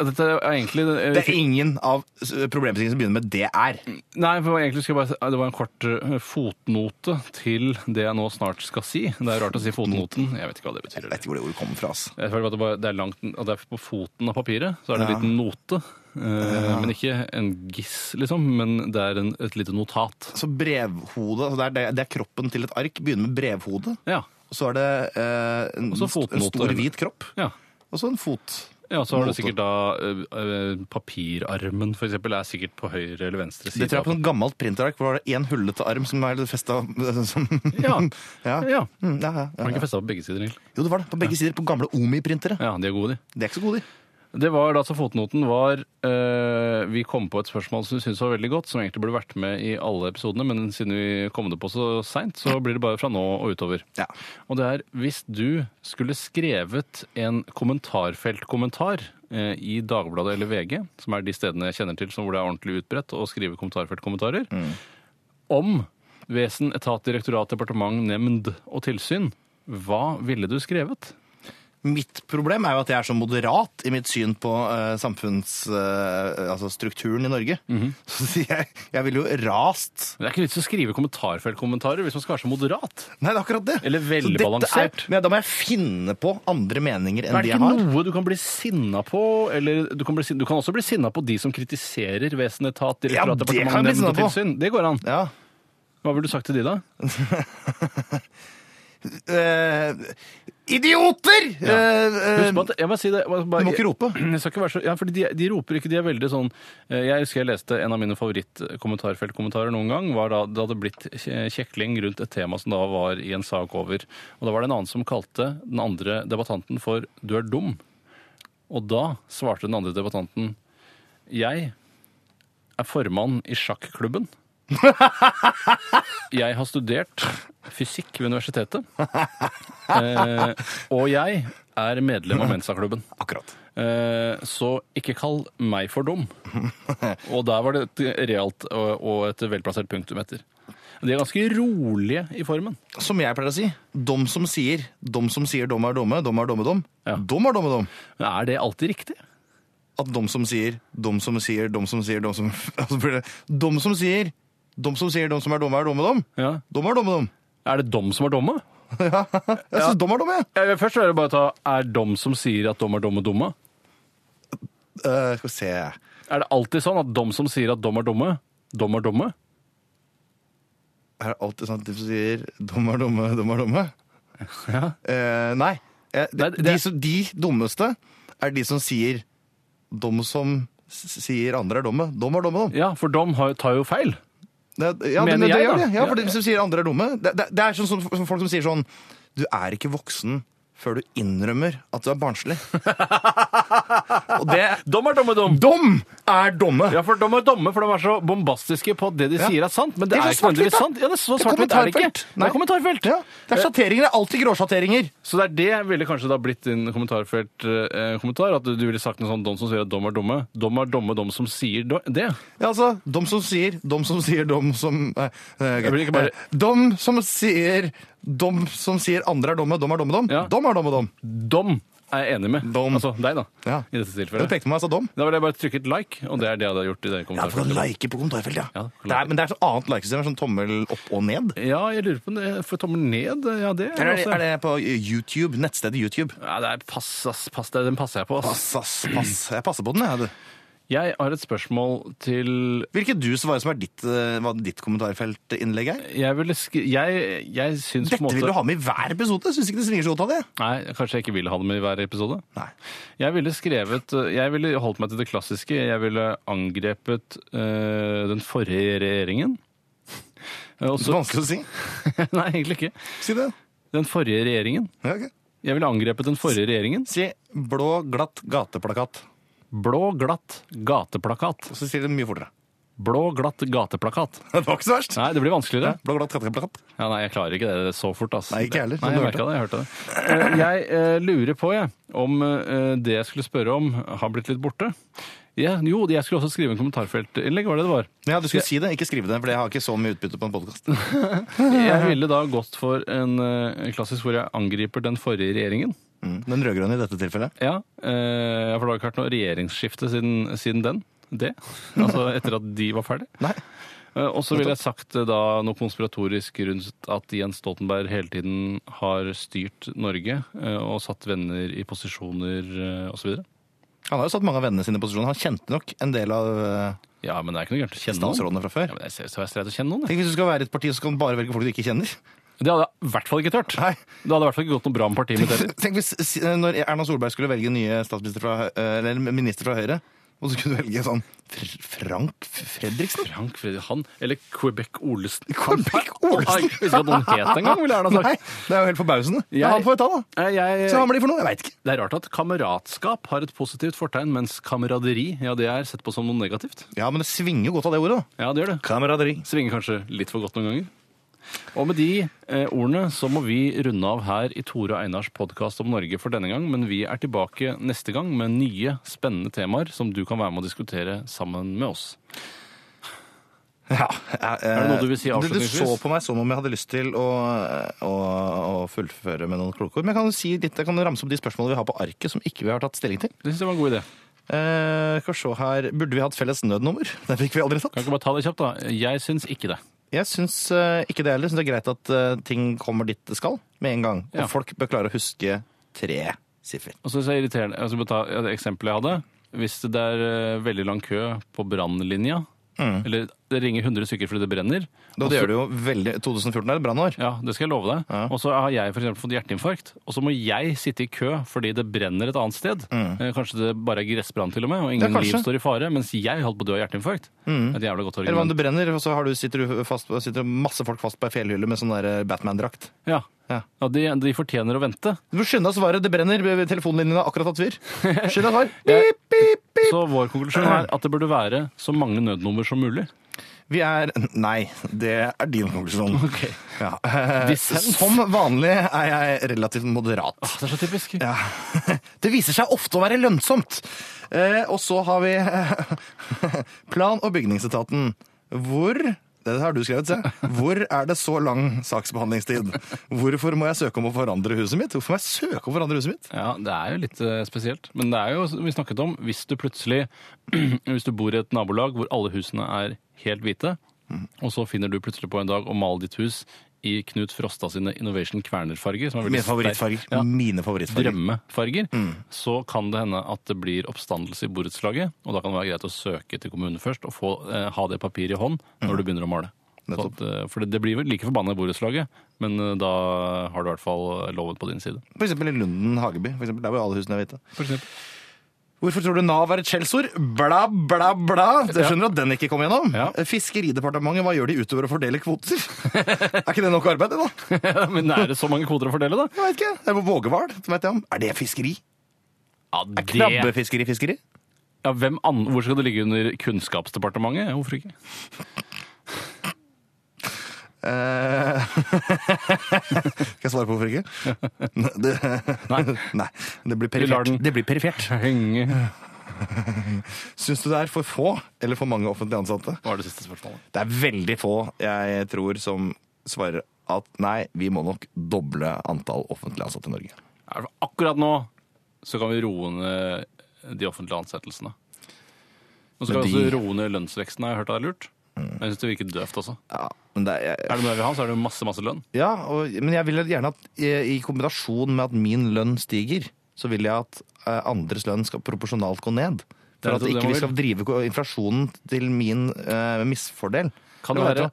S2: Dette er egentlig
S3: Det er ingen av s- problemstillingene som begynner med DR.
S2: Nei, for egentlig skal jeg bare si, det var en kort eh, fotnote til det jeg nå snart skal si. Det er rart å si fotnoten. Jeg vet ikke hva det betyr.
S3: Jeg vet ikke hvor det ordet kommer fra. ass.
S2: Jeg føler at det, bare, det, er langt, at det er på foten av papiret, så er det en
S3: Ja.
S2: liten note. Eh, Men ikke en giss, liksom, men det er en, et lite notat.
S3: Så brevhodet, altså det, er, det- det er kroppen til et ark, begynner med brevhodet.
S2: Ja.
S3: Og så er det eh, en,
S2: Og så
S3: st- en
S2: fotnote.
S3: stor hvit kropp,
S2: ja.
S3: og så en fot.
S2: Ja, så har du
S3: Note.
S2: sikkert da eh, eh, papirarmen, for eksempel, er sikkert på høyre eller venstre side.
S3: Det tror jeg er på noen gammelt printerark, hvor det var én hullete arm som er festa som,
S2: Ja. ja.
S3: ja.
S2: ja.
S3: Mm, ja, ja,
S2: Har du
S3: ja.
S2: ikke festa på begge sider, egentlig?
S3: Jo, det var det. På begge sider. På gamle Omi-printere.
S2: Ja, de er gode, de.
S3: Det er ikke så gode, de.
S2: Det var da så fotnoten var eh, Vi kom på et spørsmål som vi syntes var veldig godt, som egentlig burde vært med i alle episodene, men siden vi kom det på så seint, så blir det bare fra nå og utover.
S3: Ja.
S2: Og det er hvis du skulle skrevet en kommentarfeltkommentar eh, i Dagbladet eller VG, som er de stedene jeg kjenner til som hvor det er ordentlig utbredt å skrive kommentarfeltkommentarer,
S3: Mm.
S2: om vesen, etat, direktorat, departement, nemnd og tilsyn, hva ville du skrevet?
S3: Mitt problem er jo at jeg er så moderat i mitt syn på uh, samfunnsstrukturen altså strukturen i Norge. Så sier jeg, jeg ville jo rast
S2: Men Det er ikke vits i å skrive kommentarfeltkommentarer hvis man skal være så moderat.
S3: Nei, det er akkurat det.
S2: Eller
S3: Så dette
S2: velbalansert.
S3: er- Men da må jeg finne på andre meninger enn
S2: Men er
S3: de jeg
S2: det ikke
S3: har.
S2: noe du kan bli sinna på? Eller du kan, bli, sin- du kan også bli sinna på de som kritiserer vesen, etat,
S3: Ja,
S2: direktorat,
S3: det
S2: departement,
S3: kan jeg
S2: nemnd og
S3: bli sinna på.
S2: tilsyn. Det går an.
S3: Ja.
S2: Hva ville du sagt til de, da?
S3: Eh, Idioter! Eh, eh,
S2: Husk på at, jeg må si det, jeg bare,
S3: du må ikke rope.
S2: Jeg skal ikke være så, ja, fordi de, de roper ikke, de er veldig sånn eh, Jeg husker jeg leste en av mine favorittkommentarfeltkommentarer noen gang, var da det hadde blitt kje- kjekling rundt et tema som da var i en sak over. Og da var det en annen som kalte den andre debattanten for 'du er dum'. Og da svarte den andre debattanten 'jeg er formann i sjakklubben'. Jeg har studert fysikk ved universitetet. Eh, og jeg er medlem av Mensa-klubben.
S3: Akkurat.
S2: Eh, så ikke kall meg for dum. Og der var det et realt og, og et velplassert punktum etter. De er ganske rolige i formen.
S3: Som jeg pleier å si, dom som sier, dom som sier dom er dumme, dom er dumme dom.
S2: Ja.
S3: Dom er dumme dom.
S2: Men er det alltid riktig?
S3: At dom som sier, dom som sier, dom som sier, dom som altså blir det, Dom som sier, dom som sier, dom som er dumme er dumme dom.
S2: Ja.
S3: Dom er dumme dom.
S2: Er det dom som er domme?
S3: Jeg syns dom er dumme, jeg.
S2: Jeg vil først vil jeg bare ta Er dom som sier at dom er dumme, dumme?
S3: Eh, skal vi se
S2: Er det alltid sånn at dom som sier at dom er dumme, dom er dumme?
S3: Er det alltid sånn at de som sier dom er dumme, dom er dumme?
S2: Ja.
S3: Eh, nei. Eh, de,
S2: Nei, det-
S3: de, som, de dummeste er de som sier dom som s- sier andre er dumme. Dom er dumme, dom.
S2: ja, for dom har- tar jo feil.
S3: Det, ja,
S2: Mener
S3: men det,
S2: jeg,
S3: gjør
S2: da.
S3: det. Ja, for
S2: Ja.
S3: de som sier andre er dumme. Det, det, det er sånn som, som folk som sier sånn Du er ikke voksen før du innrømmer at du er barnslig. Og det
S2: Dom er dumme, dom!
S3: Dom er dumme!
S2: Ja, for de er dumme, for de er så bombastiske på at det de
S3: Ja.
S2: sier er sant. Men det,
S3: Det er
S2: er,
S3: så
S2: ikke nødvendigvis
S3: svart-hvitt,
S2: sant. Ja, det er så
S3: Det er
S2: svart-hvitt er det ikke.
S3: kommentarfelt.
S2: Det
S3: Nei.
S2: er kommentarfelt.
S3: Ja, det er sjatteringer. Det er alltid gråsjatteringer.
S2: Så det er det ville kanskje da blitt din kommentarfelt-kommentar. Eh, kommentar, at du, du ville sagt noe sånn dom som sier at dom er dumme. Dom er dumme, dom som sier do det.
S3: Ja, altså, dom som sier, dom som sier, dom som nei, nei, ok.
S2: Jeg blir ikke bare-
S3: Eh, Dom som sier, dom som sier andre er dumme, dom er dumme, dom.
S2: Ja.
S3: Dom er dumme, dom.
S2: Dom er jeg enig med.
S3: Dom.
S2: Altså deg, da.
S3: Ja.
S2: I dette
S3: Du
S2: tilfellet.
S3: pekte på meg og sa dom.
S2: Da ville jeg bare trykket like, og det er det jeg hadde gjort i det
S3: Ja, for å
S2: kommentarfeltet.
S3: like på kommentarfeltet, ja.
S2: Ja, for å
S3: det er, men det er så annet likesystem. Sånn tommel opp og ned.
S2: Ja, jeg lurer på om det får tommel ned. Ja, det er
S3: Eller er det,
S2: også.
S3: er det på YouTube? Nettstedet YouTube?
S2: Ja, det er pass, ass, pass. det- Den passer jeg på, ass.
S3: Pass, ass, pass. Jeg passer på den, jeg. du.
S2: Jeg har et spørsmål til
S3: Hvilket du svarer som er ditt, eh, hva ditt kommentarfeltinnlegg er?
S2: Jeg ville skri... Jeg, jeg syns på en
S3: Dette
S2: måte
S3: vil du ha med i hver episode! Syns ikke det svinger så godt av det.
S2: Nei, kanskje jeg ikke vil ha det med i hver episode.
S3: Nei.
S2: Jeg ville skrevet Jeg ville holdt meg til det klassiske. Jeg ville angrepet eh, den forrige regjeringen. Eh, og
S3: Det er
S2: så-
S3: vanskelig å si.
S2: nei, egentlig ikke.
S3: Si det.
S2: Den forrige regjeringen.
S3: Ja, ok.
S2: Jeg ville angrepet den forrige regjeringen.
S3: Si blå, glatt gateplakat.
S2: Blå, glatt gateplakat.
S3: Og så sier du det mye fortere.
S2: Blå, glatt gateplakat.
S3: Det var ikke så verst.
S2: Nei, det blir vanskeligere.
S3: Blå, glatt gateplakat.
S2: Ja, nei, jeg klarer ikke det så fort. ass.
S3: Nei, ikke jeg heller, Sånn som
S2: Nei, jeg
S3: du
S2: merket det, jeg hørte det. Eh, Jeg eh, lurer på jeg, om eh, det jeg skulle spørre om, har blitt litt borte. Ja, jo, jeg skulle også skrive en kommentarfeltinnlegg, var det det var?
S3: Ja, du skulle si det, ikke skrive det, for jeg har ikke så mye utbytte på en podkast.
S2: Jeg ville da gått for en eh, klassisk hvor jeg angriper den forrige regjeringen.
S3: Mm. Den rød-grønne i dette tilfellet.
S2: Ja, eh, for det har ikke vært noe regjeringsskifte siden, siden den. Det. Altså etter at de var ferdig.
S3: Nei.
S2: Eh, Og så ville jeg sagt eh, da noe konspiratorisk rundt at Jens Stoltenberg hele tiden har styrt Norge eh, og satt venner i posisjoner eh, osv.
S3: Han har jo satt mange av vennene sine i posisjon. Han kjente nok en del av eh,
S2: Ja, men det er ikke noe gærent å kjenne noen.
S3: statsrådene fra før.
S2: Ja, men jeg ser, så er jeg streit å kjenne noen, jeg.
S3: Tenk hvis du skal være i et parti, så kan du bare velge folk du ikke kjenner.
S2: Det hadde jeg i hvert fall ikke tørt.
S3: Nei.
S2: Det hadde i hvert fall ikke gått noe bra med partiet mitt heller.
S3: Tenk hvis s- eh, når Erna Solberg skulle velge nye statsminister fra, Hø- eller minister fra Høyre, og så kunne du velge sånn Fr Frank F- Fredriksen?
S2: Frank Fredrik Han eller Quebec Olesen.
S3: Quebec
S2: Nei,
S3: Olsen!
S2: Jeg visste ikke at noen het engang, ville Erna
S3: Nei,
S2: sagt.
S3: Altså, det er jo helt forbausende.
S2: Jeg-
S3: Ja, han får vi ta, da.
S2: Eh, Jeg,
S3: Så hva blir det for noe? Jeg veit ikke.
S2: det er rart at kameratskap har et positivt fortegn, mens kameraderi ja, det er sett på som noe negativt.
S3: Ja, men det svinger jo godt av det ordet, da.
S2: Ja, det gjør det.
S3: Kameraderi.
S2: Svinger kanskje litt for godt noen ganger. Og med de eh, ordene så må vi runde av her i Tore og Einars podkast om Norge for denne gang, men vi er tilbake neste gang med nye spennende temaer som du kan være med å diskutere sammen med oss.
S3: Ja,
S2: det noe du vil si avslutningsvis?
S3: Du, du så på meg som om jeg hadde lyst til å, å, å fullføre med noen kloke ord. Men jeg kan jo si litt, jeg kan jo ramse opp de spørsmålene vi har på arket som ikke vi har tatt stilling til.
S2: Det syns jeg var en god idé.
S3: Eh, skal vi se her. Burde vi hatt felles nødnummer? Den fikk vi aldri tatt.
S2: Kan ikke bare ta det kjapt, da. Jeg syns ikke det.
S3: Jeg syns eh, ikke det heller. Jeg Syns det er greit at eh, ting kommer dit det skal med en gang.
S2: Ja.
S3: Og folk bør klare å huske tre siffer.
S2: Og så er det irriterende altså, bare ta et eksempel jeg hadde. Hvis det er eh, veldig lang kø på brannlinja, eller det ringer 100 stykker fordi det brenner.
S3: Mm. Da det gjør det jo veldig 2014 er et brannår.
S2: Ja, det skal jeg love deg.
S3: Ja.
S2: Og så har jeg for eksempel fått hjerteinfarkt, og så må jeg sitte i kø fordi det brenner et annet sted. Eh, Kanskje det bare er gressbrann til og med, og ingen
S3: Mm. kanskje.
S2: liv
S3: Mm.
S2: står i fare, mens jeg holdt på å dø av hjerteinfarkt. Et jævla godt
S3: Eller hva om
S2: argument.
S3: det brenner, og så har du, sitter, du fast, sitter masse folk fast på ei fjellhylle med sånn der Batman-drakt.
S2: Ja.
S3: Ja.
S2: Ja, de, de fortjener å vente.
S3: Du må skynde deg å svare, det brenner. Telefonlinjen har akkurat tatt fyr. Skynd deg å svare.
S2: Jeg-
S3: Pip, pip, pip.
S2: Så vår konklusjon er at det burde være så mange nødnummer som mulig.
S3: Vi er Nei, det er din konklusjon. Ja. Eh,
S2: Dissens.
S3: Som vanlig er jeg relativt moderat.
S2: Det er så typisk.
S3: Ja. Det viser seg ofte å være lønnsomt. Eh, og så har vi eh, plan- og bygningsetaten. Hvor det har du skrevet, se. Hvor er det så lang saksbehandlingstid? Hvorfor må jeg søke om å forandre huset mitt? Hvorfor må jeg søke om å forandre huset mitt?
S2: Ja, det er jo litt eh, spesielt. Men det er jo, som vi snakket om, hvis du plutselig Hvis du bor i et nabolag hvor alle husene er helt hvite,
S3: Mhm.
S2: og så finner du plutselig på en dag å male ditt hus i Knut Frosta sine Innovation Kverner-farger, som er veldig
S3: Mine favorittfarger. Mm.
S2: sterk- Ja,
S3: Mine favorittfarger.
S2: drømmefarger, så kan det hende at det blir oppstandelse i borettslaget. Og da kan det være greit å søke til kommunen først og få, eh, ha det papiret i hånd når du begynner å male. Så
S3: Mm. Nettopp.
S2: at, eh, for det, det blir vel like forbanna i borettslaget, men eh, da har du i hvert fall eh, loven på din side.
S3: For eksempel i Lunden Hageby. For eksempel, der hvor alle husene er hvite.
S2: For eksempel.
S3: Hvorfor tror du Nav er et skjellsord? Bla, bla, bla. Det skjønner du at den ikke kom gjennom.
S2: Ja.
S3: Fiskeridepartementet, hva gjør de utover å fordele kvoter? er ikke det nok arbeid, det, da?
S2: Men er det så mange kvoter å fordele, da?
S3: Jeg vet ikke. Det er på vågehval. det vet jeg om. Er det fiskeri?
S2: Ja,
S3: Krabbefiskeri, fiskeri?
S2: ja, hvem an... Hvor skal det ligge under Kunnskapsdepartementet? Ja, Hvorfor ikke?
S3: Eh, Skal jeg svare på hvorfor ikke? Det,
S2: Nei.
S3: Nei. Det blir
S2: Vi lar
S3: perifert.
S2: den-
S3: Det blir perifert.
S2: Henge
S3: Syns du det er for få eller for mange offentlig ansatte?
S2: var det siste spørsmålet.
S3: Det er veldig få jeg tror som svarer at nei, vi må nok doble antall offentlig ansatte i Norge.
S2: Ja, for Akkurat nå så kan vi roe ned de offentlige ansettelsene. Nå skal
S3: Men
S2: vi
S3: de-
S2: også roe ned lønnsveksten, har jeg hørt er lurt. Men jeg syns det virker døvt også.
S3: Ja, men, det er,
S2: Er det noe jeg vil ha, så er det jo masse, masse lønn.
S3: ja, og, men jeg vil gjerne at eh, i kombinasjon med at min lønn stiger, så vil jeg at eh, andres lønn skal proporsjonalt gå ned.
S2: Det er
S3: For at
S2: det- det
S3: ikke
S2: man
S3: vi skal drive ko- inflasjonen til min eh, misfordel.
S2: Kan det
S3: Eller hva
S2: være
S3: heter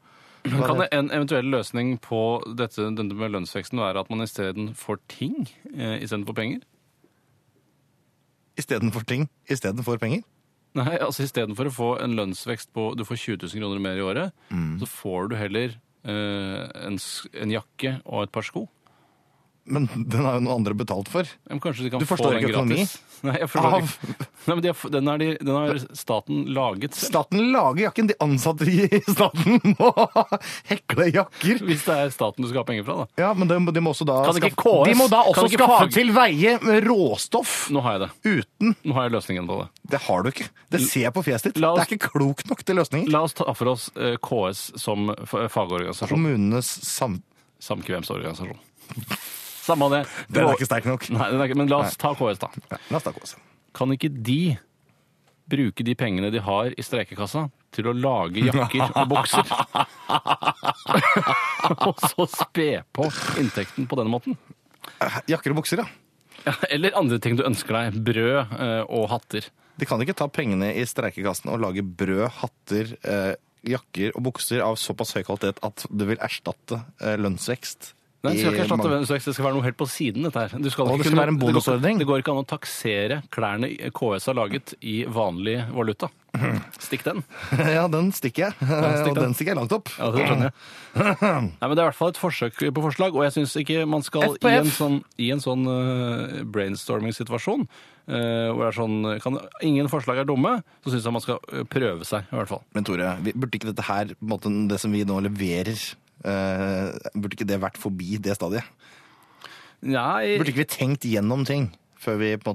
S3: Hva
S2: kan det
S3: heter
S2: en eventuell løsning på dette, denne med lønnsveksten være at man isteden får ting eh, istedenfor penger?
S3: Istedenfor ting, istedenfor penger.
S2: Nei, altså istedenfor å få en lønnsvekst på Du får 20 000 kroner mer i året,
S3: Mm.
S2: så får du heller eh, en, s- en jakke og et par sko.
S3: Men den har jo noen andre betalt for.
S2: Men kanskje de kan
S3: Du forstår
S2: få den
S3: ikke økonomi?
S2: gratis. Nei, jeg forstår
S3: Av-
S2: ikke. Nei, men de har, den, har de, den har staten laget selv.
S3: Staten lager jakken, de ansatte i staten må hekle jakker.
S2: Hvis det er staten du skal ha penger fra, da.
S3: Ja, men de, de må også da
S2: Kan ikke
S3: skaffe-
S2: KS?
S3: De må da
S2: Kan
S3: også
S2: ikke
S3: skaffe
S2: fag-
S3: til veie råstoff
S2: Nå har jeg det.
S3: uten
S2: Nå har jeg løsningen på det.
S3: Det har du ikke. Det ser jeg på fjeset ditt.
S2: La oss-
S3: Det er ikke klokt nok til løsninger.
S2: La oss ta for oss eh, KS som f- fagorganisasjon.
S3: Kommunenes sam...
S2: Samkvemsorganisasjon. Samme av det.
S3: Den er ikke sterk nok.
S2: Nei, den er ikke, men la oss ta KS, da.
S3: Ja, La oss ta KS.
S2: kan ikke de bruke de pengene de har i streikekassa til å lage jakker og bukser? og så spe på inntekten på den måten.
S3: Eh, Jakker og bukser, ja.
S2: Ja, Eller andre ting du ønsker deg. Brød eh, og hatter.
S3: De kan ikke ta pengene i streikekassen og lage brød, hatter, eh, jakker og bukser av såpass høy kvalitet at du vil erstatte eh, lønnsvekst.
S2: Nei, det skal ikke
S3: i
S2: erstatte
S3: mange-
S2: lønnsvekst, det skal være noe helt på siden. dette her. Du
S3: Og
S2: ikke
S3: det skal
S2: kunne-
S3: være
S2: går
S3: en
S2: ikke-
S3: bonusordning.
S2: Det går ikke an å taksere klærne KS har laget i vanlig valuta. Stikk den.
S3: Ja, den stikker jeg.
S2: stikk den.
S3: og den stikker jeg langt opp.
S2: Ja, det skjønner jeg. Nei, men Det er i hvert fall et forsøk på forslag, og jeg syns ikke man skal
S3: F på
S2: i
S3: F.
S2: en sånn, i en sånn eh, brainstorming-situasjon eh, hvor det er sånn kan, Ingen forslag er dumme, så syns jeg man skal eh, prøve seg, i hvert fall.
S3: Men Tore, vi- burde ikke dette her, på en måte, det som vi nå leverer, eh, burde ikke det vært forbi det stadiet? Burde
S2: Nei
S3: ikke vi tenkt gjennom ting før vi på en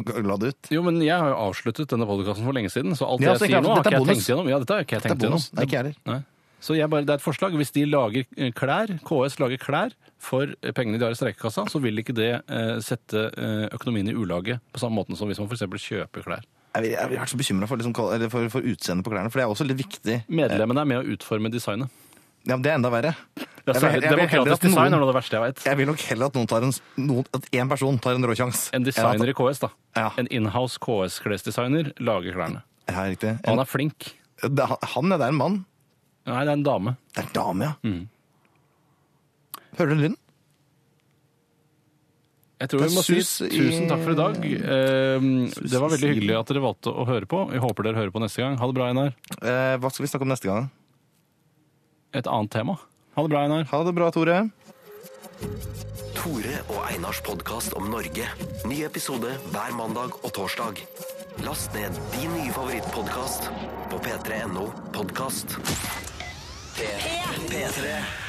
S3: måte la det ut?
S2: Jo, men jeg har jo avsluttet denne podkasten for lenge siden, så alt
S3: Ja, så
S2: jeg
S3: ikke
S2: sier nå,
S3: absolutt,
S2: har ikke jeg
S3: dette er bonus.
S2: tenkt gjennom. Ja, dette har ikke jeg
S3: Det er
S2: tenkt gjennom.
S3: bonus. Nei, ikke jeg heller.
S2: Nei. Så jeg bare, det er et forslag. Hvis de lager eh, klær, KS lager klær for eh, pengene de har i streikekassa, så vil ikke det eh, sette eh, økonomien i ulage på samme måten som hvis man f.eks. kjøper klær.
S3: Jeg vil- jeg har vært så bekymra for, liksom, kal- eller for, for utseendet på klærne, for det er også litt viktig.
S2: Medlemmene er med å utforme designet.
S3: Ja, men Det er enda verre.
S2: Ja,
S3: Jeg vil-
S2: særlig
S3: jeg vil heller at
S2: Demokratisk design er
S3: noen-
S2: noe av det verste jeg vet.
S3: Jeg vil nok heller at noen tar en, s- noen, at én person tar en råsjanse.
S2: En designer i KS, da.
S3: Ja.
S2: En inhouse KS-klesdesigner lager klærne.
S3: Ja, riktig.
S2: Og
S3: En,
S2: han er flink.
S3: Det, er- han, ja, det er en mann.
S2: Nei, det er en dame.
S3: Det er en dame, ja.
S2: Mm.
S3: Hører du lyden?
S2: Jeg tror
S3: Det er
S2: vi må si
S3: sus i-
S2: tusen takk for i dag. Eh, Det var veldig hyggelig at dere valgte å høre på. Jeg håper dere hører på neste gang. Ha det bra, Einar.
S3: Eh, hva skal vi snakke om neste gang?
S2: Et annet tema. Ha det bra, Einar.
S3: Ha det bra, Tore.
S1: Tore og Einars podkast om Norge. Ny episode hver mandag og torsdag. Last ned din nye favorittpodkast på p3.no podkast. P3.